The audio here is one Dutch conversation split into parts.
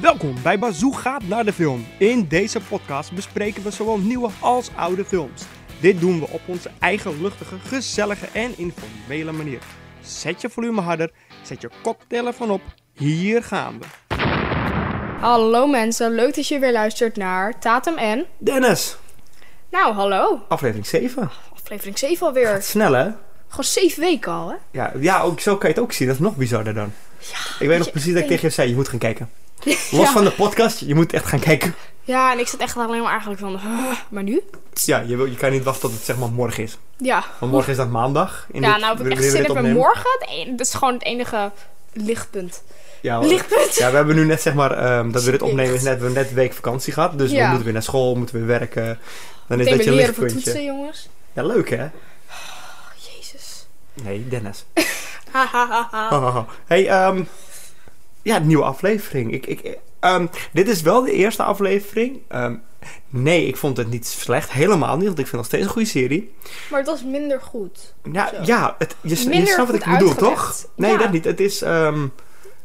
Welkom bij Bazoo gaat naar de film. In deze podcast bespreken we zowel nieuwe als oude films. Dit doen we op onze eigen luchtige, gezellige en informele manier. Zet je volume harder, zet je koptelefoon op. Hier gaan we. Hallo mensen, leuk dat je weer luistert naar Tatum en... Dennis, Nou, hallo. aflevering 7. Aflevering 7 alweer. Gaat snel hè? Gewoon 7 weken al, hè? Ja, ja ook, zo kan je het ook zien. Dat is nog bizarder dan. ik weet nog precies dat ik tegen je zei, je moet gaan kijken. Los Ja. van de podcast, je moet echt gaan kijken. Ja, en ik zat echt alleen maar eigenlijk van... "Huh, maar nu? Ja, je, wil- je kan niet wachten tot het zeg maar morgen is. Ja. Want morgen is dat maandag. In ja, dit- nou heb ik wanneer echt we zin dit in met opnemen. morgen. Het en- Dat is gewoon het enige lichtpunt. Ja, we- Lichtpunt? ja, we hebben nu net zeg maar, ehm, dat we dit opnemen, is Echt. net, we hebben net een week vakantie gehad. Dus Ja. we moeten weer naar school, moeten weer werken. Dan is Meteen dat je weer leren voor lichtpuntje. toetsen, jongens. Ja, leuk hè? Oh, jezus. Nee, Dennis. Ha, ha, ha, ha. Oh, oh, oh. Hey, ehm, ja, nieuwe aflevering. Ik, ik, ehm, dit is wel de eerste aflevering. Ehm, nee, ik vond het niet slecht. Helemaal niet, want ik vind het nog steeds een goede serie. Maar het was minder goed. Zo. Nou ja, het, je, sn- je Minder snapt wat goed ik bedoel, uitgelegd. toch? Nee, Ja. dat niet. Het is, ehm,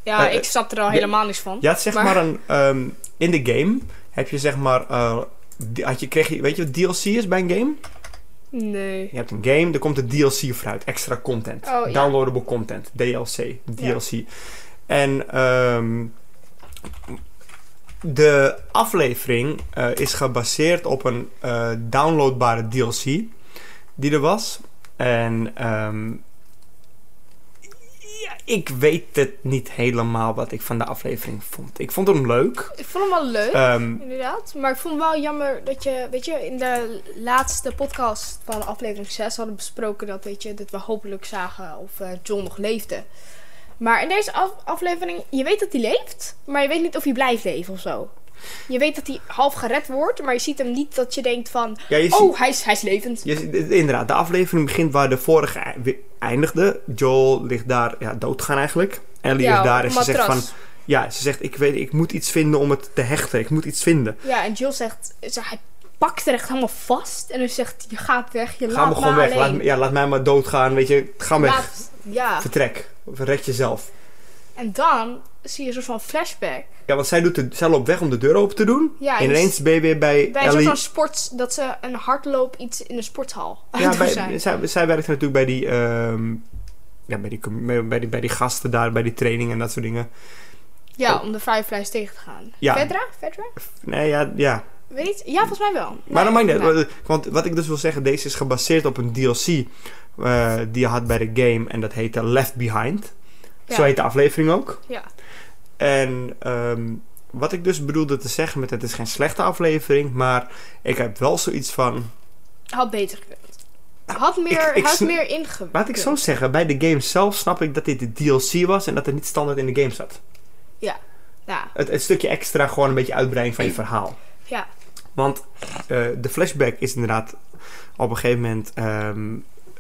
Ja, Eh, ik snap er al ja. helemaal niks van. ja, het is zeg maar, Maar- een, ehm, in de game heb je zeg maar, eh, di- had je, kreeg je, weet je wat DLC is bij een game? Nee. Je hebt een game, er komt een DLC voor uit. Extra content. Oh, ja. Downloadable content. DLC. DLC. En ehm, de aflevering eh, is gebaseerd op een eh, downloadbare DLC die er was. En ehm, ja, ik weet het niet helemaal wat ik van de aflevering vond. Ik vond hem leuk. Ik vond hem wel leuk. Ehm, Inderdaad, maar ik vond het wel jammer dat je, weet je, in de laatste podcast van aflevering 6 hadden besproken dat, weet je, dat we hopelijk zagen of eh, John nog leefde. Maar in deze af- aflevering, je weet dat hij leeft, maar je weet niet of hij blijft leven of zo. Je weet dat hij half gered wordt, maar je ziet hem niet dat je denkt van, ja, je ziet- oh, hij is, hij is levend. Je ziet- inderdaad, de aflevering begint waar de vorige ei- we- eindigde. Joel ligt daar ja, doodgaan eigenlijk. Ellie Ja, is daar op en ze een zegt van... matras. Ja, ze zegt, ik, weet, ik moet iets vinden om het te hechten. Ik moet iets vinden. Ja, en Jill zegt, ze- hij pakt er echt helemaal vast en hij zegt, je gaat weg, je Ga laat me gewoon me weg. Laat, alleen. me- ja, laat mij maar doodgaan, weet je. Ga weg. Laat- ja, Vertrek. Of Red jezelf. en dan zie je een soort van flashback. Ja, want zij, doet de, zij loopt weg om de deur open te doen. Ja, en en ineens ben je weer bij, Bij een soort Ellie. van sport, dat ze een hardloop iets in de sporthal aan ja, het doen bij, zijn. zij, zij werkt natuurlijk bij die, ehm, ja, bij, die, com- bij, die, bij die gasten daar, bij die training en dat soort dingen. Ja, om de Fireflies tegen te gaan. oh. Ja. Vedra? Vedra? Nee, ja, ja, Weet niet. Ja, volgens mij wel. Nee, Maar dat maakt niet uit, nee. want- Want wat ik dus wil zeggen, deze is gebaseerd op een DLC eh, die je had bij de game. En dat heette Left Behind. Ja. Zo heet de aflevering ook. Ja. En ehm, wat ik dus bedoelde te zeggen met het is geen slechte aflevering. Maar ik heb wel zoiets van... Had beter gekund. Had meer, ik had sn- meer ingewekt. Laat ik zo zeggen, bij de game zelf snap ik dat dit de DLC was. En dat het niet standaard in de game zat. Ja. Het, het stukje extra gewoon een beetje uitbreiding van je verhaal. Ja. Want eh, de flashback is inderdaad... Op een gegeven moment ehm,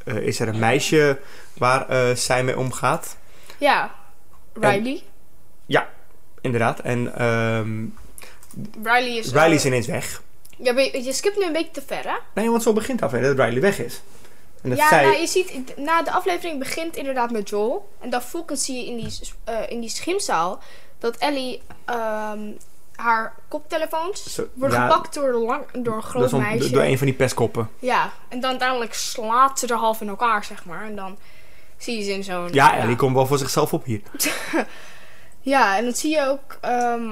eh, is er een meisje waar eh, zij mee omgaat. ja. Riley. Inderdaad. En ehm Riley is... Riley is eh, ineens weg. ja, maar je, je skipt nu een beetje te ver, hè? Nee, want zo begint de aflevering dat Riley weg is. En dat ja, zij... nou, je ziet... Na de aflevering begint inderdaad met Joel. En dan vervolgens zie je in die, s- eh, in die schimzaal... dat Ellie... ehm, haar koptelefoons Zo- worden ja, gepakt door, een lang, door een dat groot is om- meisje. Door een van die pestkoppen. Ja, en dan uiteindelijk slaat ze er half in elkaar, zeg maar. En dan zie je ze in zo'n... Ja, Ellie komt wel voor zichzelf op hier. Ja, en dan zie je ook ehm,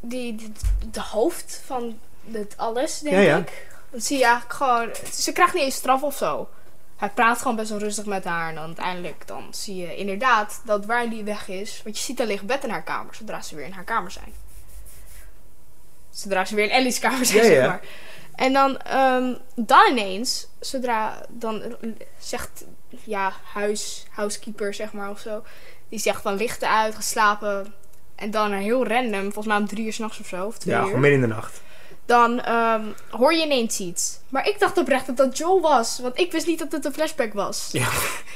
die, die- de hoofd van dit alles, denk Ja, ja. ik. Dan zie je eigenlijk gewoon... Ze krijgt niet eens straf of zo. Hij praat gewoon best wel rustig met haar. En dan uiteindelijk dan zie je inderdaad dat Riley weg is. Want je ziet er ligt bed in haar kamer, zodra ze weer in haar kamer zijn. Zodra ze weer in Ellie's kamer zijn, Ja, ja. zeg maar. En dan, ehm, dan ineens, zodra dan eh, zegt, ja, huis, housekeeper, zeg maar, of zo. Die zegt van lichten uit, geslapen. En dan een heel random, volgens mij om drie uur s'nachts of zo, of twee Ja, uur. gewoon midden in de nacht. Dan ehm, hoor je ineens iets. Maar ik dacht oprecht dat dat Joel was. Want ik wist niet dat het een flashback was. Ja.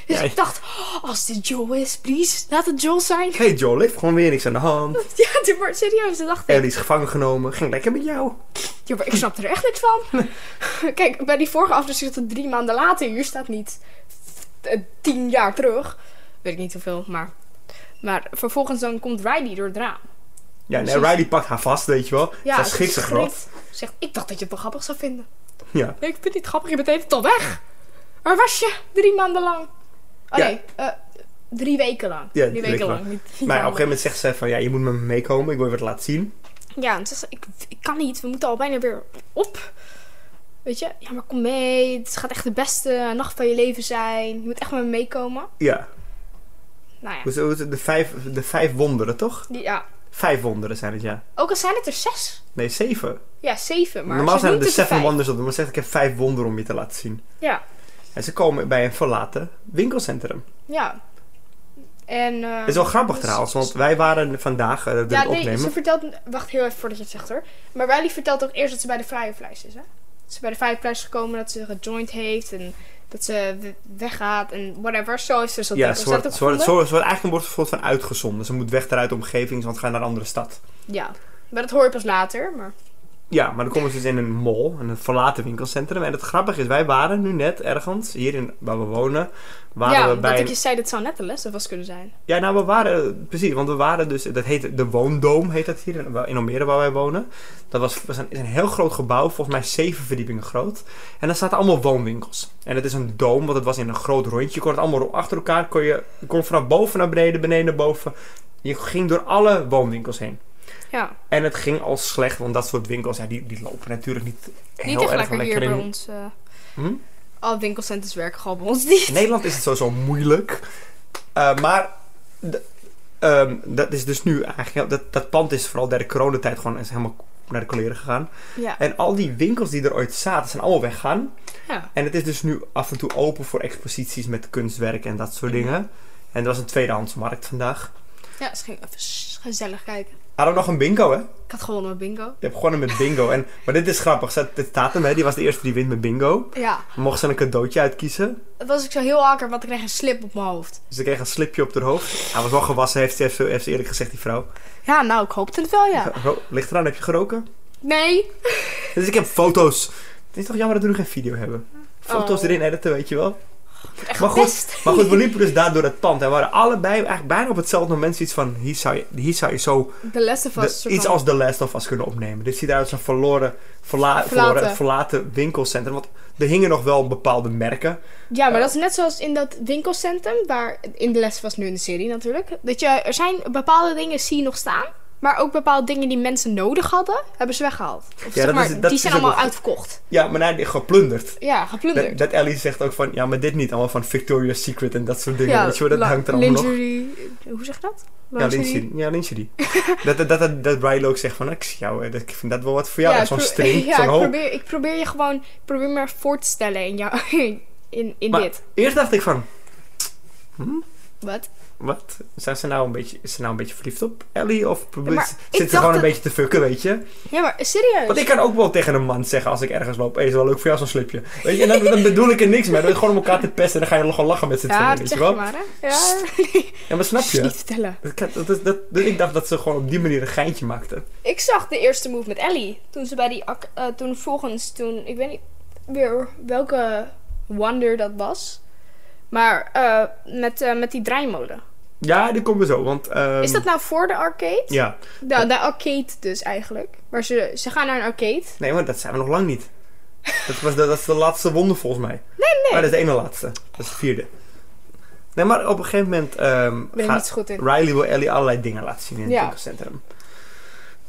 Dus Ja. ik dacht, "Oh, als dit Joel is, please, laat het Joel zijn. Hey Joel, heeft gewoon weer niks aan de hand. ja, dit- maar serieus, dat dacht ik. Ellie is gevangen genomen. Ging lekker met jou. Ja, maar ik snap er echt niks van. Kijk, bij die vorige aflevering staat het drie maanden later. Hier staat niet eh, tien jaar terug. Weet ik niet hoeveel, maar... Maar vervolgens dan komt Riley door Dus het raam. Ja, nee, Precies. Riley pakt haar vast, weet je wel. Ja, Zij ze schrikt zich schrikt. rot. Zegt, ik dacht dat je het wel grappig zou vinden. Ja. Nee, ik vind het niet grappig, je bent even tot weg. Waar was je? Drie maanden lang. Oh Ja. nee, eh, drie weken lang. Ja, drie weken lang. Niet, Maar ja, niet op een maanden. gegeven moment zegt ze van, ja, je moet met me meekomen. Ik wil je wat laten zien. Ja, en ze zei, ik, ik kan niet, we moeten al bijna weer op. Weet je, ja, maar kom mee. Het gaat echt de beste nacht van je leven zijn. Je moet echt met me meekomen. Ja. Nou ja. Hoe is- hoe is het? De vijf, de vijf wonderen, toch? Die- ja. Vijf wonderen zijn het, ja. Ook al zijn het er zes. Nee, zeven. Ja, zeven. Maar Normaal ze zijn het noemt de het er seven vijf. wonders op. Maar ze zegt, ik heb vijf wonderen om je te laten zien. Ja, En ze komen bij een verlaten winkelcentrum. ja. En... eh, Het is wel grappig dus- trouwens, want wij waren vandaag eh, de Ja, nee, opnemen. ze vertelt... Wacht heel even voordat je het zegt hoor. Maar Riley vertelt ook eerst dat ze bij de Fireflies is, hè? Dat ze bij de Fireflies is gekomen, dat ze gejoind heeft en dat ze we- weggaat en whatever. Zo is dus dat Ja, ook. Is ze dat wordt, ook ze wordt, ze gevonden? wordt- ze wordt eigenlijk een wordt soort van uitgezonden. Ze moet weg eruit de omgeving, want ze gaan naar een andere stad. Ja, maar dat hoor je pas later. Maar... Ja, maar dan komen ze dus in een mall, in een verlaten winkelcentrum. En het grappige is, wij waren nu net ergens, hier in, waar we wonen, waren Ja, we dat bij... ik je zei, dat zou net een les kunnen zijn. Ja, nou, we waren, precies, want we waren dus, dat heet de Woondoom, heet dat hier, in, in Almere waar wij wonen. Dat was, was een, is een heel groot gebouw, volgens mij zeven verdiepingen groot. En daar zaten allemaal woonwinkels. En het is een doom, want het was in een groot rondje. Je kon het allemaal achter elkaar, kon je, je kon vanaf boven naar beneden, beneden naar boven. Je ging door alle woonwinkels heen. Ja, En het ging al slecht, want dat soort winkels, ja, die, die lopen natuurlijk niet, niet heel echt erg lekker, hier bij in. ons. eh Hm? Alle winkelcenters werken gewoon bij ons niet. In Nederland is het sowieso moeilijk. Eh, maar d- ehm, dat is dus nu eigenlijk... ja, Dat, dat pand is vooral derde coronatijd gewoon is helemaal naar de kleren gegaan. Ja, En al die winkels die er ooit zaten, zijn allemaal weggaan. ja. En het is dus nu af en toe open voor exposities met kunstwerk en dat Mhm. soort dingen. En er was een tweedehandsmarkt vandaag. ja ze ging even s- gezellig kijken. Hadden we nog een bingo, hè? Ik had gewonnen met bingo. Je hebt gewonnen met bingo. En, maar dit is grappig. Zat- Dit staat hem, hè? Die was de eerste die wint met bingo. Ja, Mocht ze een cadeautje uitkiezen. dat was ik zo heel akker, want ik kreeg een slip op mijn hoofd. Dus ik kreeg een slipje op haar hoofd. Hij was wel gewassen, heeft ze, heeft ze- heeft ze eerlijk gezegd, die vrouw. Ja, nou, ik hoopte het wel, ja. Ro- Ligt eraan, heb je geroken? Nee. Dus ik heb foto's. Het is toch jammer dat we nu geen video hebben. Foto's Oh. erin editen, weet je wel. Echt Maar goed, best. Maar goed, we liepen dus daar door het pand. En we waren allebei eigenlijk bijna op hetzelfde moment zoiets van... Hier zou je, hier zou je zo De Last of de- Us. soort iets van- als The Last of Us kunnen opnemen. Dus Dit ziet eruit als een verloren, verla- Verlaten. verloren, verlaten winkelcentrum. Want er hingen nog wel bepaalde merken. Ja, maar Ja. dat is net zoals in dat winkelcentrum, waar in de les was nu in de serie natuurlijk. Dat je, er zijn bepaalde dingen zie je nog staan, maar ook bepaalde dingen die mensen nodig hadden, hebben ze weggehaald. Of zeg dat maar, is- dat die is dus zijn ook allemaal wel- uitverkocht. Ja, maar nee, die- geplunderd. Ja, Dat, geplunderd. dat Ellie zegt ook van... Ja, maar dit niet. Allemaal van Victoria's Secret en dat soort dingen. ja, weet je wel, dat la- hangt er allemaal nog. lingerie- Hoe zeg je dat? Ja, Lingerie. lingerie. Ja, lingerie. dat, dat, dat, dat Riley ook zegt van, ik zie jou, eh, dat, ik vind dat wel wat voor jou. Ja, dat ik zo'n pro- string, ja, zo'n ik, hoop. probeer, ik probeer je gewoon, ik probeer me voor te stellen in, jou, in, in Maar- dit. Eerst dacht ik van, Wat? wat? Zijn ze nou een beetje, is ze nou een beetje verliefd op Ellie? Of probeer- maar ik zit ze dacht gewoon een dat- beetje te fucken, weet je? Ja, maar serieus. Want ik kan ook wel tegen een man zeggen als ik ergens loop, hey, is wel leuk voor jou zo'n slipje. Weet je, en dan, dan bedoel ik er niks mee. Dan ben je gewoon om elkaar te pesten en dan ga je gewoon lachen met z'n ja, tweeën, dat weet je zeg je wel? maar, hè? Ja, Ja, maar snap je? niet vertellen. Dat, dat, dat, dat, dus ik dacht dat ze gewoon op die manier een geintje maakte. Ik zag de eerste move met Ellie. Toen ze bij die. ac- eh, toen volgens. Toen. Ik weet niet weer welke wonder dat was. Maar eh, met, eh, met die draaimolen. Ja, die komen zo, want... ehm, Is dat nou voor de arcade? Ja. Nou, de arcade dus eigenlijk. Maar ze, ze gaan naar een arcade. Nee, maar dat zijn we nog lang niet. Dat, was de, dat is de laatste wonder volgens mij. Nee, nee. Maar dat is de ene laatste. Dat is de vierde. Nee, maar op een gegeven moment ehm, Ik ben er niet gaat zo goed in. Riley wil Ellie allerlei dingen laten zien in het Ja. winkelcentrum.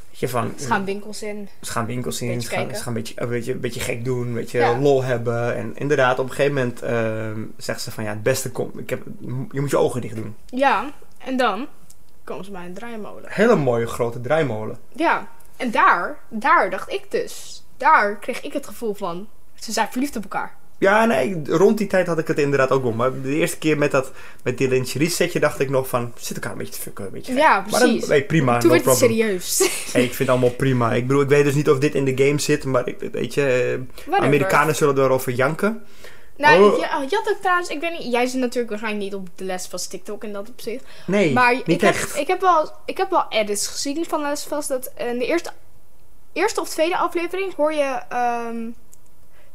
Weet Je van, Ze gaan winkels in. ze gaan winkels zien, Beetje ze gaan, kijken. ze gaan een, beetje, een, beetje, een beetje gek doen, een beetje Ja. lol hebben. En inderdaad, op een gegeven moment ehm, zegt ze van ja, het beste komt, ik heb, je moet je ogen dicht doen. Ja, en dan komen ze bij een draaimolen. Hele mooie grote draaimolen. Ja, en daar, daar dacht ik dus. Daar kreeg ik het gevoel van. Ze zijn verliefd op elkaar. Ja, nee, rond die tijd had ik het inderdaad ook wel. Maar de eerste keer met, dat, met die lingerie setje dacht ik nog van... Zit elkaar een beetje te fucken, een beetje gek. Ja, Maar dan, precies. hey, prima, Toen no werd het problem. serieus. Hey, ik vind het allemaal prima. Ik bedoel, ik weet dus niet of dit in de game zit, maar ik, weet je... eh, Whatever. Amerikanen zullen er wel over janken. Nou, Oh. ja, je had ook trouwens, ik weet niet, jij zit natuurlijk waarschijnlijk niet op de les van TikTok in dat opzicht. Nee, maar niet ik, echt. Heb, ik, heb wel, ik heb wel edits gezien van eh, les van dat in de eerste, eerste of tweede aflevering hoor je ehm,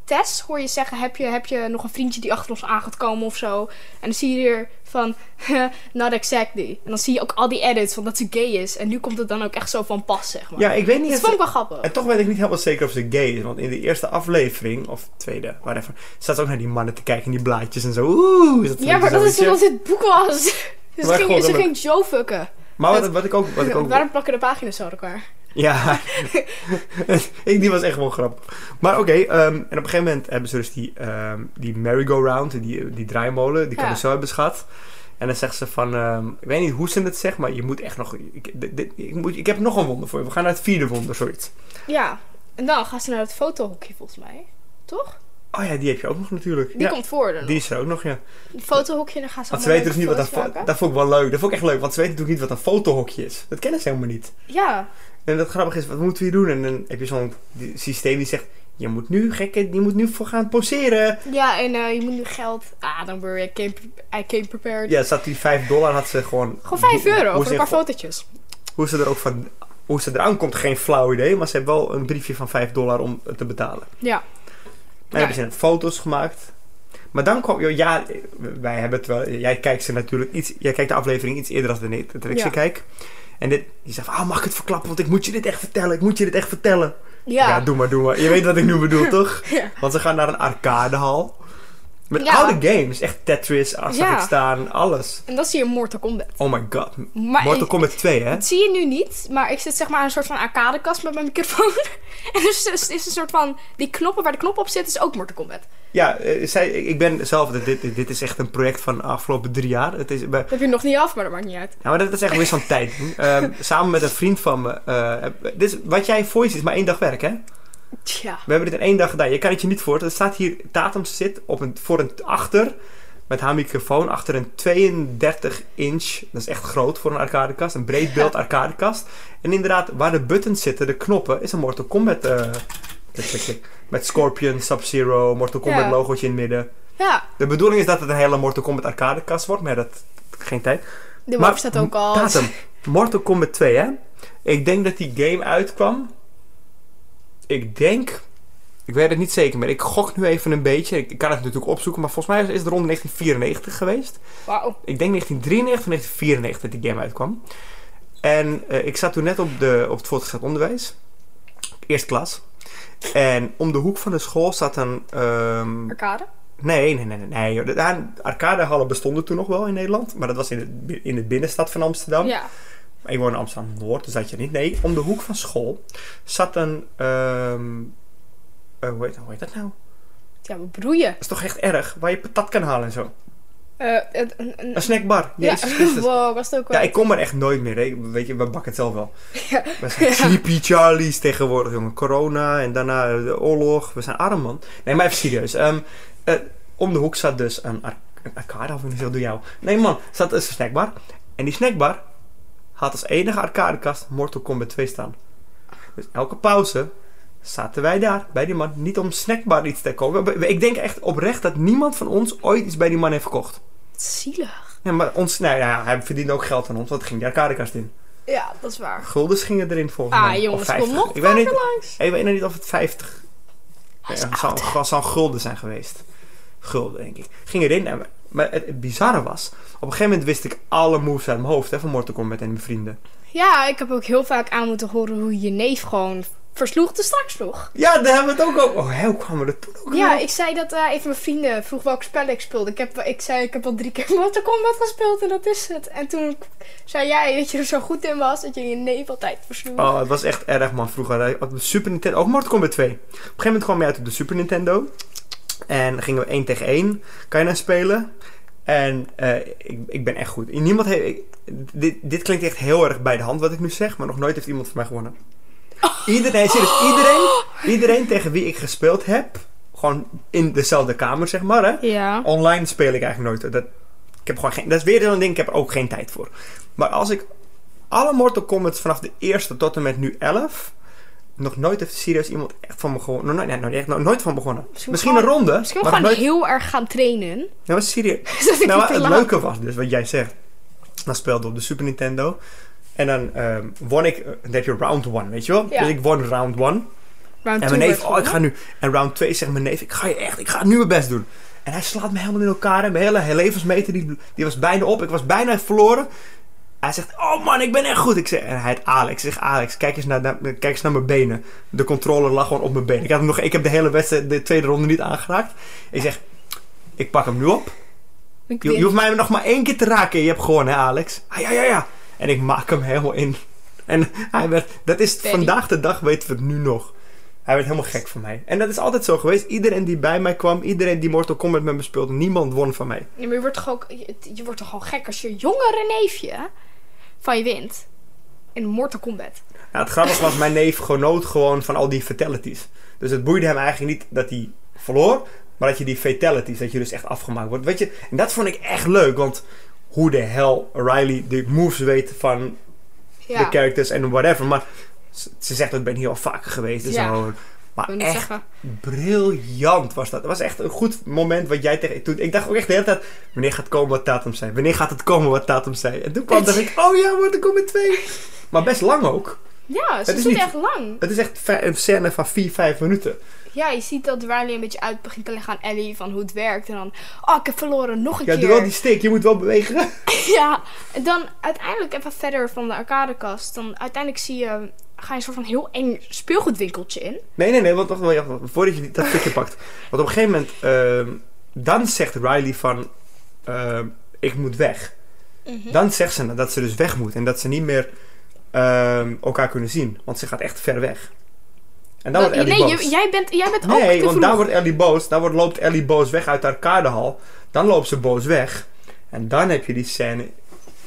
Tess hoor je zeggen: heb je, heb je nog een vriendje die achter ons aan gaat komen of zo? En dan zie je er van: not exactly. En dan zie je ook al die edits van dat ze gay is. En nu komt het dan ook echt zo van pas, zeg maar. Ja, ik weet niet. dat of- vond ik wel grappig. En toch weet ik niet helemaal zeker of ze gay is. Want in de eerste aflevering, of tweede, whatever, staat ze ook naar die mannen te kijken in die blaadjes en zo. Oeh, is dat Ja, maar dat is zoiets. omdat het boek was. Dus ze Maar ging, God, ze dat- ging Joe fucken. Maar wat, wat ik ook... Wat ik ook Waarom plakken de pagina's zo aan elkaar? Ja, ik, die was echt wel grappig. Maar oké, ehm, en op een gegeven moment hebben ze dus die, ehm, die merry-go-round, die, die draaimolen, die Ja. carousel hebben schat. En dan zegt ze van, ehm, ik weet niet hoe ze het zegt, maar je moet echt nog... Ik, dit- dit- ik, moet, ik heb nog een wonder voor je, we gaan naar het vierde wonder, zoiets. Ja, en dan gaan ze naar het fotohokje volgens mij. Toch? Oh ja, die heb je ook nog natuurlijk. Die ja, komt voor. Dan. die is er ook nog, ja. Het fotohokje, dan gaan ze Want ze allemaal weten dus niet wat dat... leuke foto's fo- maken. Dat vond ik wel leuk, dat vond ik echt leuk, want ze weten natuurlijk niet wat een fotohokje is. Dat kennen ze helemaal niet. Ja, En dat grappig is, wat moeten we hier doen? En dan heb je zo'n die- systeem die zegt, je moet nu, gekke, je moet nu voor gaan poseren. ja en eh, je moet nu geld... Ah, dan word ik... I came pre- I came prepared. Ja, zat die 5 dollar had ze gewoon. Gewoon 5 hoe- euro Hoe, voor een ze, paar fotootjes. hoe ze er ook van. Hoe ze eraan komt, geen flauw idee. Maar ze hebben wel een briefje van 5 dollar om het te betalen. Ja. En dan hebben ze net foto's gemaakt. Maar dan kwam. joh, Ja, wij hebben het wel. Jij kijkt ze natuurlijk iets. Jij kijkt de aflevering iets eerder dan ik, dat ik ze Ja. kijk. En dit, die zegt: van, Ah, mag ik het verklappen? Want ik moet je dit echt vertellen. Ik moet je dit echt vertellen. Ja. doe maar, doe maar. Je weet wat ik nu bedoel, toch? Ja. Want ze gaan naar een arcadehal. Met Ja. oude games. Echt Tetris, zag Ja. ik staan, alles. En dan zie je Mortal Kombat. Oh my god. Maar Mortal ik- Kombat 2, hè? dat zie je nu niet, maar ik zit zeg maar aan een soort van arcadekast met mijn microfoon. en dus is, is een soort van... Die knoppen waar de knop op zit is ook Mortal Kombat. Ja, eh, zij, ik ben zelf... Dit, dit- dit is echt een project van de afgelopen drie jaar. Het is, we- Dat heb je nog niet af, maar dat maakt niet uit. ja, maar dat is echt weer zo'n tijd. Ehm, samen met een vriend van me. eh, heb- dit is, wat jij voice is, maar één dag werk, hè? Tja. We hebben dit in één dag gedaan. Je kan het je niet voorstellen. Er staat hier... Tatum zit op een, voor een achter... Met haar microfoon achter een 32 inch. Dat is echt groot voor een arcadekast. Een breed beeld arcadekast. En inderdaad, waar de buttons zitten, de knoppen, is een Mortal Kombat. eh, klik, klik, klik. met Scorpion, Sub-Zero, Mortal Kombat Ja. logootje in het midden. Ja, De bedoeling is dat het een hele Mortal Kombat arcadekast wordt, maar dat geen tijd. de Maar- warp staat ook al. Datum. Mortal Kombat 2, hè? Ik denk dat die game uitkwam. Ik denk. Ik weet het niet zeker meer. Ik gok nu even een beetje. Ik ik kan het natuurlijk opzoeken, maar volgens mij is het rond 1994 geweest. Wauw. Ik denk 1993 of 1994 dat die game uitkwam. En eh, ik zat toen net op, de, op het voortgezet onderwijs. Eerste klas. En om de hoek van de school zat een... ehm, Arcade? Nee, nee, nee, nee. nee joh. De- de arcadehallen bestonden toen nog wel in Nederland. Maar dat was in de, bi- in de binnenstad van Amsterdam. Ja. Ik woon in Amsterdam-Noord, dus dat je niet. Nee, om de hoek van school zat een... ehm, eh, hoe, heet, hoe heet dat nou? Ja, we broeien. Dat is toch echt erg? Waar je patat kan halen en zo. Eh, het- een, een- Een snackbar. Jezus ja. Christus. Wow, was het ook wel. Ja, ik kom er echt nooit meer. hè. Ik- Weet je, we bakken het zelf wel. We zijn sleepy Charlies tegenwoordig, jongen. Corona en daarna de oorlog. We zijn arm, man. Nee, maar even serieus. Ehm, eh, om de hoek zat dus een, ar- een arcade, of ik niet zeg, doe jou. Nee, man, zat dus een snackbar. En die snackbar had als enige arcadekast Mortal Kombat 2 staan. Dus elke pauze zaten wij daar bij die man. Niet om snackbar iets te kopen. Ik denk echt oprecht dat niemand van ons ooit iets bij die man heeft gekocht. Zielig. Ja, maar ons, nou ja, hij verdiende ook geld aan ons, want het ging de arcadekast in. Ja, dat is waar. Guldens gingen erin volgens Ah, mij. Of jongens, kom 50. nog ik weet, niet, Langs. ik weet niet of het 50 Hij is ja, oud. zou, zou- zou een gulden zijn geweest. Gulden, denk ik. Ging erin. En, we- maar het, het bizarre was, op een gegeven moment wist ik alle moves uit mijn hoofd hè, van Mortal Kombat en mijn vrienden. Ja, ik heb ook heel vaak aan moeten horen hoe je neef gewoon versloeg de straks sloeg. Ja, daar hebben we het ook over. Oh, hè, hoe kwamen we er toen ook Ja, weer op? ik zei dat eh, een van mijn vrienden vroeg welk spel ik speelde. Ik, heb, wel- ik zei, ik heb al drie keer Mortal Kombat gespeeld en dat is het. En toen zei jij dat je er zo goed in was dat je je neef altijd versloeg. Oh, het was echt erg, man. Vroeger had de Super Nintendo. Ook Mortal Kombat 2. Op een gegeven moment kwam je uit op de Super Nintendo. En dan gingen we 1 tegen 1. Kan je nou spelen? En eh, ik, ik ben echt goed. Niemand heeft, ik- dit, dit klinkt echt heel erg bij de hand wat ik nu zeg, maar nog nooit heeft iemand van mij gewonnen. Iedereen, serieus, iedereen, iedereen tegen wie ik gespeeld heb, gewoon in dezelfde kamer zeg maar, hè, Ja. Online speel ik eigenlijk nooit. Dat, ik heb gewoon geen, dat is weer zo'n ding, ik heb er ook geen tijd voor. Maar als ik alle Mortal Kombat vanaf de eerste tot en met nu 11... Nog nooit heeft serieus iemand echt van me gewoon... Nog nooit, nee, nog, echt, nog nooit van begonnen. Misschien, Misschien gewoon- een ronde. Misschien maar nog gewoon nooit, heel erg gaan trainen. Nou, maar serieus. Zodat ik Nou, niet maar te het laat- leuke was dus, wat jij zegt. Dan speelde op de Super Nintendo. En dan ehm, won ik... eh, Dan heb je round one, weet je wel? Ja. Dus ik won round one. Round En mijn two werd neef, oh, ik gewonnen. ga nu. En round 2 zegt mijn neef, ik ga je echt, ik ga nu mijn best doen. En hij slaat me helemaal in elkaar. En mijn hele, hele levensmeter, die, die was bijna op. Ik was bijna verloren. Hij zegt, oh man, ik ben echt goed. Ik zeg, en hij heet Alex. Ik zeg, Alex, kijk eens naar, naar- kijk eens naar mijn benen. De controller lag gewoon op mijn benen. Ik, had hem nog, ik heb de hele wedstrijd, de tweede ronde niet aangeraakt. Ik zeg, ik pak hem nu op. Ik Je, je win. hoeft mij nog maar één keer te raken. en Je hebt gewonnen, hè, Alex? Ah, ja, ja, ja. En ik maak hem helemaal in. En hij werd... Dat is... Teddy. Vandaag de dag weten we het nu nog. Hij werd helemaal gek van mij. En dat is altijd zo geweest. Iedereen die bij mij kwam, iedereen die Mortal Kombat met me speelde, niemand won van mij. Nee, maar je wordt toch ook... Je, het- je wordt toch gewoon gek als je jongere neefje van je wint. In Mortal Kombat. Nou, het grappige was, mijn neef genoot gewoon van al die fatalities. Dus het boeide hem eigenlijk niet dat hij verloor, maar dat je die fatalities, dat je dus echt afgemaakt wordt. Weet je, en dat vond ik echt leuk, want hoe de hel Riley de moves weet van Ja, de characters en whatever. Maar ze- ze zegt dat ik ben hier al vaker geweest. Dus Ja. gewoon- maar wil echt niet zeggen. briljant was dat. Het was echt een goed moment wat jij tegen... Toen, ik dacht ook echt de hele tijd, wanneer gaat komen wat datum zijn? Wanneer gaat het komen wat datum zijn? En toen kwam dacht ik, oh ja, wordt er komen twee. Maar best lang ook. Ja, ze Het is doet niet- echt lang. Het is echt vij- een scène van 4, 5 minuten. Ja, je ziet dat Riley een beetje uit begint te leggen aan Ellie van hoe het werkt. En dan, oh, ik heb verloren, nog een Ja, doe keer. wel die stick, je moet wel bewegen. Ja, en dan uiteindelijk even verder van de arcadekast. Dan uiteindelijk zie je, ga je een soort van heel eng speelgoedwinkeltje in. Nee, nee, nee, want wacht, wacht, wacht, voordat je die- dat stukje pakt. Want op een gegeven moment, ehm, dan zegt Riley van, ehm, ik moet weg. Mhm. Dan zegt ze dat ze dus weg moet en dat ze niet meer ehm, elkaar kunnen zien. Want ze gaat echt ver weg. En dan Dan- wordt Nou, Ellie nee, boos. je- jij bent, jij bent ook nee, te want vroeg. daar wordt Ellie boos. Daar wordt, loopt Ellie boos weg uit haar kaardehal. Dan loopt ze boos weg. En dan heb je die scène.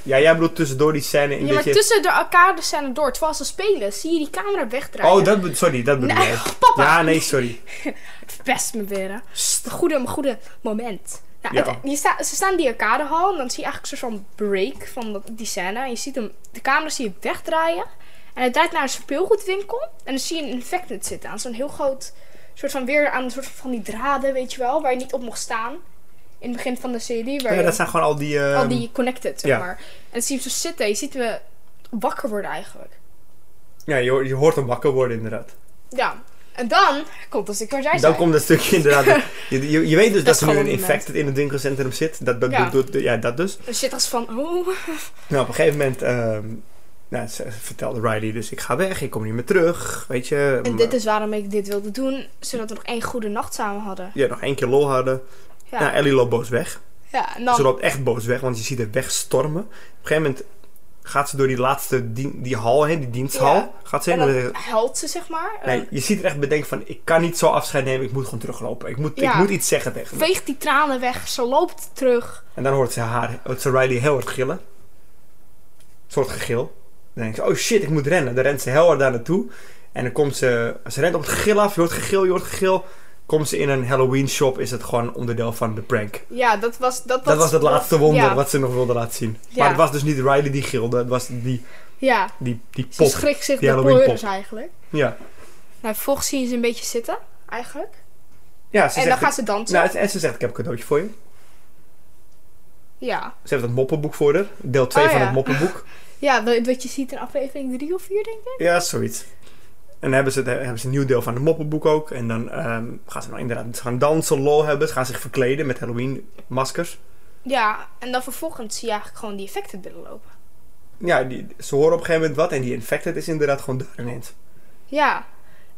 Ja, jij bedoelt tussendoor die scène in Ja, maar dat je... tussen de arcadescène door, terwijl ze spelen, zie je die camera wegdraaien. Oh, dat, be- sorry, dat bedoel Nee, jij. papa. Ja, nee, sorry. Best me weer, hè. Sst. Het goede, goede moment. Nou, Ja. het- je sta- ze staan in die arcadehal en dan zie je eigenlijk een soort van break van dat, die scène. En je ziet hem, de camera zie je wegdraaien. En het draait naar een speelgoedwinkel. En dan zie je een infected zitten aan zo'n heel groot... soort van weer aan een soort van die draden, weet je wel. Waar je niet op mocht staan. In het begin van de serie. Waar Ja, je dat zijn gewoon al die... ehm, al die connected, zeg ja. maar. En dan zie je hem zo zitten. Je ziet hem eh, wakker worden eigenlijk. Ja, je, hoort- je hoort hem wakker worden inderdaad. Ja. En dan komt dat stuk waar zij Dan zijn. komt dat stukje inderdaad. je, je, je weet dus dat, is er nu gewoon een een moment. infected in het winkelcentrum zit. Dat, dat, Ja. dat- dat- ja, dat dus. Dan zit als van... Oh. Nou, op een gegeven moment ehm, nou, ze- ze vertelde Riley dus, ik ga weg, ik kom niet meer terug, weet je. En dit is waarom ik dit wilde doen, zodat we nog één goede nacht samen hadden. Ja, nog één keer lol hadden. Ja, Nou, Ellie loopt boos weg. ja en Ze dan... loopt echt boos weg, want je ziet het wegstormen. Op een gegeven moment gaat ze door die laatste dien- die hal, hè, die diensthal. Ja. Gaat ze En heen. en dan dan zegt- huilt ze, zeg maar. Ehm, nee, je ziet er echt bedenken van, ik kan niet zo afscheid nemen, ik moet gewoon teruglopen. Ik moet, ik Ja. moet iets zeggen tegen hem. Veegt die tranen weg, ze loopt terug. En dan hoort ze, haar, hoort ze Riley heel hard gillen. Een soort gegil. Dan denkt ze, oh shit, ik moet rennen. Dan rent ze heel hard daar naartoe. En dan komt ze, ze rent op het gegil af, je hoort gegil, je hoort gegil. Komt ze in een Halloween shop, is het gewoon onderdeel van de prank. Ja, dat was... Dat, Dat was het laatste wonder Ja, wat ze nog wilde laten zien. Ja. Maar het was dus niet Riley die gilde, het was die, ja. die, die ze pop. schrikt zich Die de Halloween pleuris eigenlijk. Ja. Nou, vervolgens zie je ze een beetje zitten, eigenlijk. ja ze en dan zegt, gaat ze dansen. nou, en ze zegt, ik heb een cadeautje voor je. ja. Ze heeft het moppenboek voor haar. Deel 2 Ah, van ja. het moppenboek. Ja, wat wat je ziet in aflevering 3 of 4, denk ik. ja, zoiets. En dan hebben ze, het- eh, hebben ze een nieuw deel van het moppenboek ook. En dan ehm, gaan ze nou inderdaad ze gaan dansen, lol hebben. Ze gaan zich verkleden met Halloween-maskers. Ja, en dan vervolgens zie je eigenlijk gewoon die effecten binnenlopen. Ja, die, ze horen op een gegeven moment wat. En die infected is inderdaad gewoon daar ineens. Ja,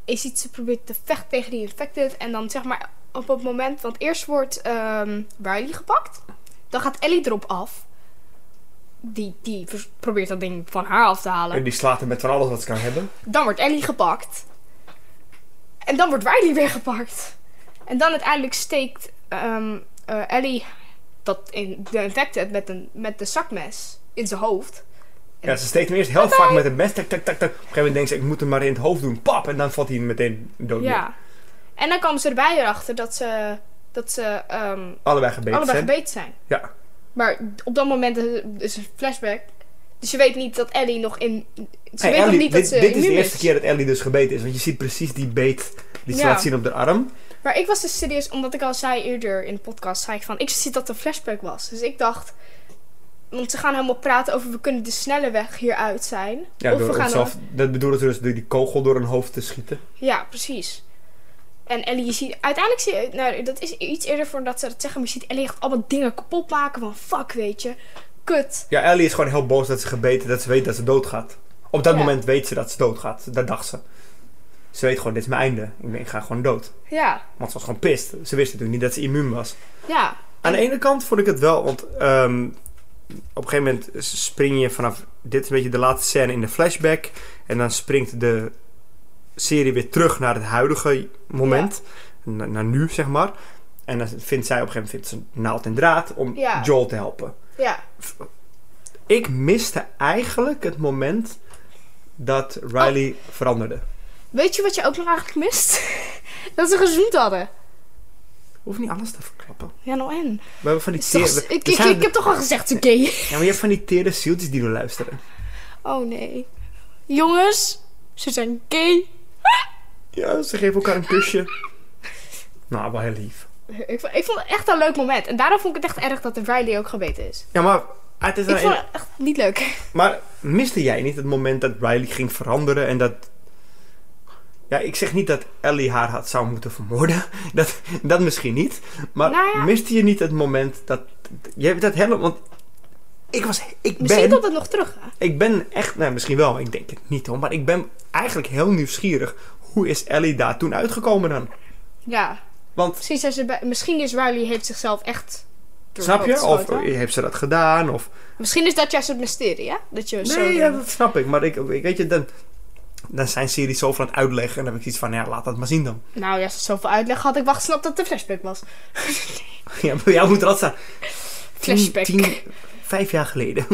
je ziet ze probeert te vechten tegen die infected. En dan zeg maar op het moment, want eerst wordt ehm Riley gepakt. Dan gaat Ellie erop af. Die, die vers- probeert dat ding van haar af te En halen. die slaat er met van alles wat ze kan hebben. Dan wordt Ellie gepakt. En dan wordt Riley weer gepakt. En dan uiteindelijk steekt ehm, eh, Ellie dat in, de infected met een, met een zakmes in zijn hoofd. Ja, ze steekt hem eerst heel vaak met een mes. Tak, tak, tak, tak. Op een gegeven moment denkt ze, ik moet hem maar in het hoofd doen. Pap! En dan valt hij meteen dood. neer. Ja. En dan kwam ze erbij erachter dat ze, dat ze ehm, Allebei gebeten allebei zijn. gebeten zijn. Ja. Maar op dat moment is- is een flashback. Dus je weet niet dat Ellie nog in. Ze Hey, weet Ellie, nog niet dat dit, ze dit is immuun de eerste keer dat Ellie dus gebeten is. Want je ziet precies die beet die ze Ja. laat zien op de arm. Maar ik was dus serieus, omdat ik al zei eerder in de podcast, zei ik van, ik zie dat er een flashback was. Dus ik dacht, Want ze gaan helemaal praten over we kunnen de snelle weg hieruit zijn. Ja, we door onszelf, dat bedoelen ze dus door die kogel door hun hoofd te schieten. Ja, precies. En Ellie, je ziet... Uiteindelijk zie je... Nou, dat is iets eerder voordat ze dat zeggen. Maar je ziet Ellie echt allemaal dingen kapot maken. Van fuck, weet je. Kut. Ja, Ellie is gewoon heel boos dat ze gebeten, dat ze weet dat ze doodgaat. Op dat Ja. moment weet ze dat ze doodgaat. Dat dacht ze. Ze weet gewoon, dit is mijn einde. Ik, ben- ik ga gewoon dood. Ja. Want ze was gewoon pist. Ze wist natuurlijk niet dat ze immuun was. Ja. Aan de ene kant vond ik het wel, want ehm, op een gegeven moment spring je vanaf... Dit is een beetje de laatste scène in de flashback. En dan springt de serie weer terug naar het huidige moment. Na- naar nu, zeg maar. En dan vindt zij op een gegeven moment vindt ze een naald en draad om Ja. Joel te helpen. Ja. Ik miste eigenlijk het moment dat Riley veranderde. Weet je wat je ook nog eigenlijk mist? dat ze gezoend hadden. Hoef niet alles te verklappen. Ja, nou en? We hebben van die Is tere... toch- we- ik, we ik, ik, zijn- heb toch al gezegd, ze gay. Ja, maar je hebt van die tere zieltjes die nu luisteren. Oh nee. Jongens, ze zijn gay. Ja, ze geven elkaar een kusje. nou, wel heel lief. Ik, vond- ik vond het echt een leuk moment. En daarom vond ik het echt erg dat de Riley ook gebeten is. Ja, maar... Het is Ik wel vond een- het echt niet leuk. Maar miste jij niet het moment dat Riley ging veranderen en dat... Ja, ik zeg niet dat Ellie haar had zou moeten vermoorden. Dat, dat misschien niet. Maar Nou ja. miste je niet het moment dat... Je hebt dat helemaal... Want ik was... Ik Misschien ben... komt het nog terug. Hè? Ik ben echt, nou misschien wel, ik denk het niet hoor, maar ik ben eigenlijk heel nieuwsgierig. Hoe is Ellie daar toen uitgekomen dan? Ja. Want, Misschien, zijn ze bij- misschien is Riley heeft zichzelf echt. door snap het je? hoofd Of eh, geschoten. heeft ze dat gedaan? Of... Misschien is dat juist het mysterie, hè? Dat je zo. Nee, ja, dat snap ik, maar ik, ik weet je, dan, dan zijn series zoveel aan het uitleggen en dan heb ik iets van, ja, laat dat maar zien dan. Nou ja, als het zoveel uitleg had ik wacht gesnapt dat het een flashback was. Ja, bij jou moet er altijd staan. Tien- Flashback. tien- vijf jaar geleden.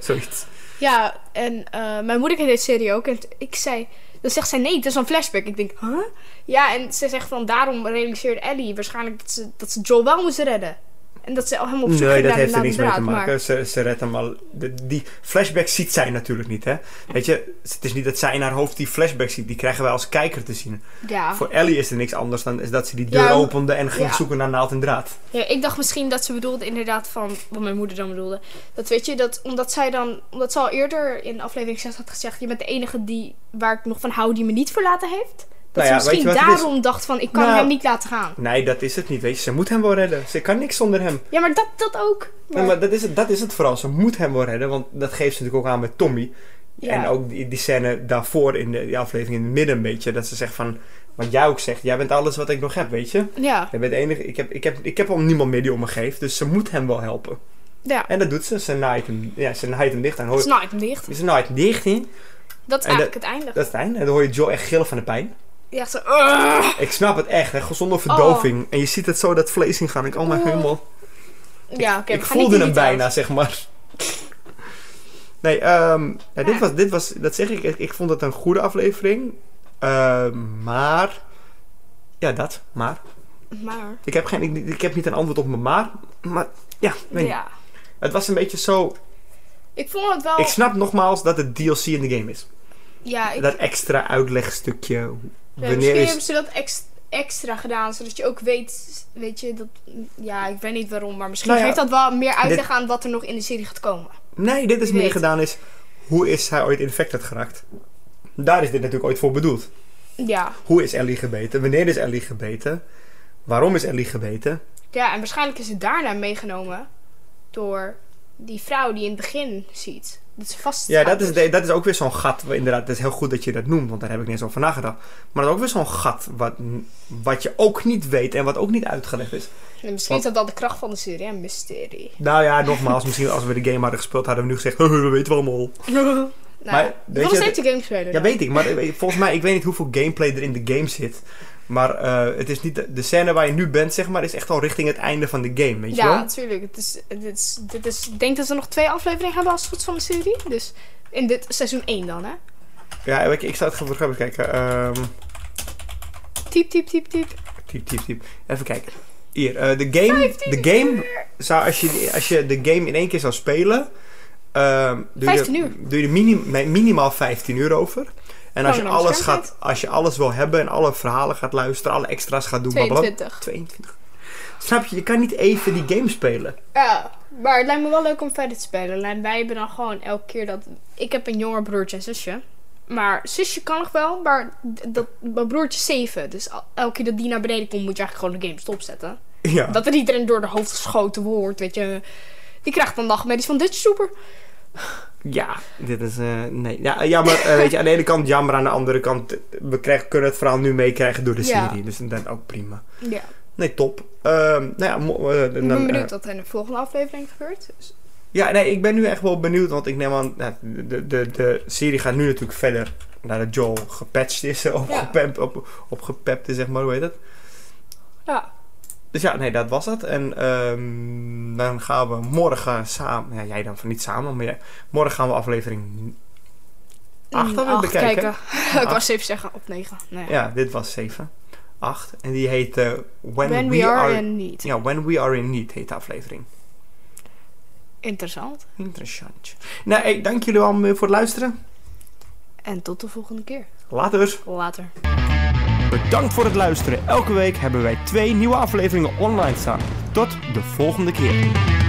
Zoiets. Ja, en eh, mijn moeder kent deze serie ook. En t- ik zei... Dan zegt zij, nee, het is een flashback. Ik denk, huh? Ja, en ze zegt van, daarom realiseert Ellie waarschijnlijk dat ze, dat ze Joel wel moest redden. En dat ze al helemaal op zoek Nee, ging dat naar de- heeft er naar de niks mee te draad, maar- maken. Ze, ze redt hem al. de- die flashback ziet zij natuurlijk niet, hè? Weet je, het is niet dat zij in haar hoofd die flashback ziet. Die krijgen wij als kijker te zien. ja. Voor Ellie is er niks anders dan is dat ze die deur Ah. Ja, hoe- opende en ging ja. zoeken naar naald en draad. ja. Ik dacht misschien dat ze bedoelde inderdaad van... Wat mijn moeder dan bedoelde. Dat weet je, dat omdat zij dan... Omdat ze al eerder in aflevering 6 had gezegd... Je bent de enige die, waar ik nog van hou die me niet verlaten heeft. Dat Nou ja, ze weet je misschien wat het is? daarom dacht van... Ik kan Nou. hem niet laten gaan. Nee, dat is het niet, weet je. Ze moet hem wel redden. Ze kan niks zonder hem. Ja, maar dat, dat ook. Nee, maar dat is, het, dat is het vooral. Ze moet hem wel redden, want dat geeft ze natuurlijk ook aan met Tommy. Ja. En ook die, die scène daarvoor in de die aflevering in het midden een beetje. Dat ze zegt van, wat jij ook zegt, jij bent alles wat ik nog heb, weet je. Ja, Jij bent de enige, ik heb, ik heb, ik heb al niemand meer die om me geeft, dus ze moet hem wel helpen. ja. En dat doet ze. Ze naait hem, ja, ze naait hem dicht en hoor Snipe hem dicht. Ze naait hem dicht in. Dat is En eigenlijk het einde. Dat is het einde. En dan hoor je Joe echt gillen van de pijn. Ja, zo. "Ugh." Ik snap het echt, hè. gezonde verdoving. En je ziet het zo dat vlees ingaan. Ik, oh mijn Oh. hemel. Ja, oké. ik voelde hem bijna, zeg maar. Nee, ehm, ja, Dit, Ja. was, dit was, dat zeg ik, ik, ik vond het een goede aflevering. Ehm, maar, ja dat, maar. Maar. Ik heb, geen, ik, ik heb niet een antwoord op mijn maar. Maar, ja, nee. Ja. Het was een beetje zo, Ik vond het wel. ik snap nogmaals dat het DLC in de game is. ja, ik, Dat extra uitlegstukje. ja, Wanneer misschien is... hebben ze dat ex- extra gedaan, zodat je ook weet, weet je, dat, ja, ik weet niet waarom, maar misschien Nou ja, geeft dat wel meer uitleg dit- aan wat er nog in de serie gaat komen. Nee, dit is Wie meer weet. gedaan is... Hoe is hij ooit infected geraakt? Daar is dit natuurlijk ooit voor bedoeld. Ja, Hoe is Ellie gebeten? Wanneer is Ellie gebeten? Waarom is Ellie gebeten? ja en waarschijnlijk is het daarna meegenomen door die vrouw die je in het begin ziet. Dat ze vast Ja, dat is, de- dat is ook weer zo'n gat. Inderdaad, het is heel goed dat je dat noemt, want daar heb ik niet eens over nagedacht. Maar dat is ook weer zo'n gat wat, wat je ook niet weet en wat ook niet uitgelegd is. En misschien is dat wel de kracht van de serie, een mysterie. Nou ja, nogmaals, misschien als we de game hadden gespeeld, hadden we nu gezegd, we weten wel al. nou, Maar, maar, weet nog je, steeds de game spelen. Ja, dan. weet ik. Maar eh, volgens mij, ik weet niet hoeveel gameplay er in de game zit. Maar eh, het is niet de, de scène waar je nu bent, zeg maar, is echt al richting het einde van de game, weet je Ja, wel? natuurlijk. Het is, het is, dit is, ik denk dat we nog twee afleveringen hebben als het goed is van de serie. Dus in dit seizoen 1 dan, hè? Ja, ik, ik zou het gewoon even kijken. Ehm, Typ, typ, typ, typ. typ, typ, typ. Even kijken. Hier, eh, de game, de game zou, als je, als je de game in één keer zou spelen, ehm, doe, 15 je, uur. doe je er minim- nee, minimaal 15 uur over. En als Oh, je, nou, alles beschermd. gaat, als je alles wil hebben en alle verhalen gaat luisteren, alle extra's gaat doen, blablabla. 22. 22. Snap je? Je kan niet even die game spelen. Ja, maar het lijkt me wel leuk om verder te spelen. En wij hebben dan gewoon elke keer dat... Ik heb een jonger broertje en zusje. Maar zusje kan nog wel, maar d- dat, mijn broertje is zeven. Dus al- elke keer dat die naar beneden komt, moet je eigenlijk gewoon de game stopzetten. Ja. Dat er iedereen door de hoofd geschoten wordt, weet je. Die krijgt dan nachtmerries van Dutch Super. Ja, dit is. eh, nee. Ja, eh, jammer. eh, weet je, aan de ene kant jammer, aan de andere kant. eh, We krijgen, kunnen het verhaal nu meekrijgen door de Ja. serie. Dus dat is ook prima. Ja, Nee, top. Ehm, nou ja, mo- eh, ik dan, ben eh, benieuwd wat er in de volgende aflevering gebeurt. Dus- ja, nee, ik ben nu echt wel benieuwd. Want ik neem aan. nou, de, de, de serie gaat nu natuurlijk verder. Nadat Joel gepatcht is. eh, Of Ja. gepempt- op, opgepept is, zeg maar. Hoe heet dat? Ja, Dus ja, nee, dat was het. En ehm, dan gaan we morgen samen. Ja, jij dan van niet samen. Maar ja, morgen gaan we aflevering. Acht gaan we bekijken. Hm, ik was even zeggen op negen. Nou ja. Ja, dit was 7. 8. En die heet eh, When, When we are, in need. Ja, When We Are In Need heet de aflevering. Interessant. Interessant. Nou, hey, dank jullie wel voor het luisteren. En tot de volgende keer. Later. Later. Bedankt voor het luisteren. Elke week hebben wij twee nieuwe afleveringen online staan. Tot de volgende keer.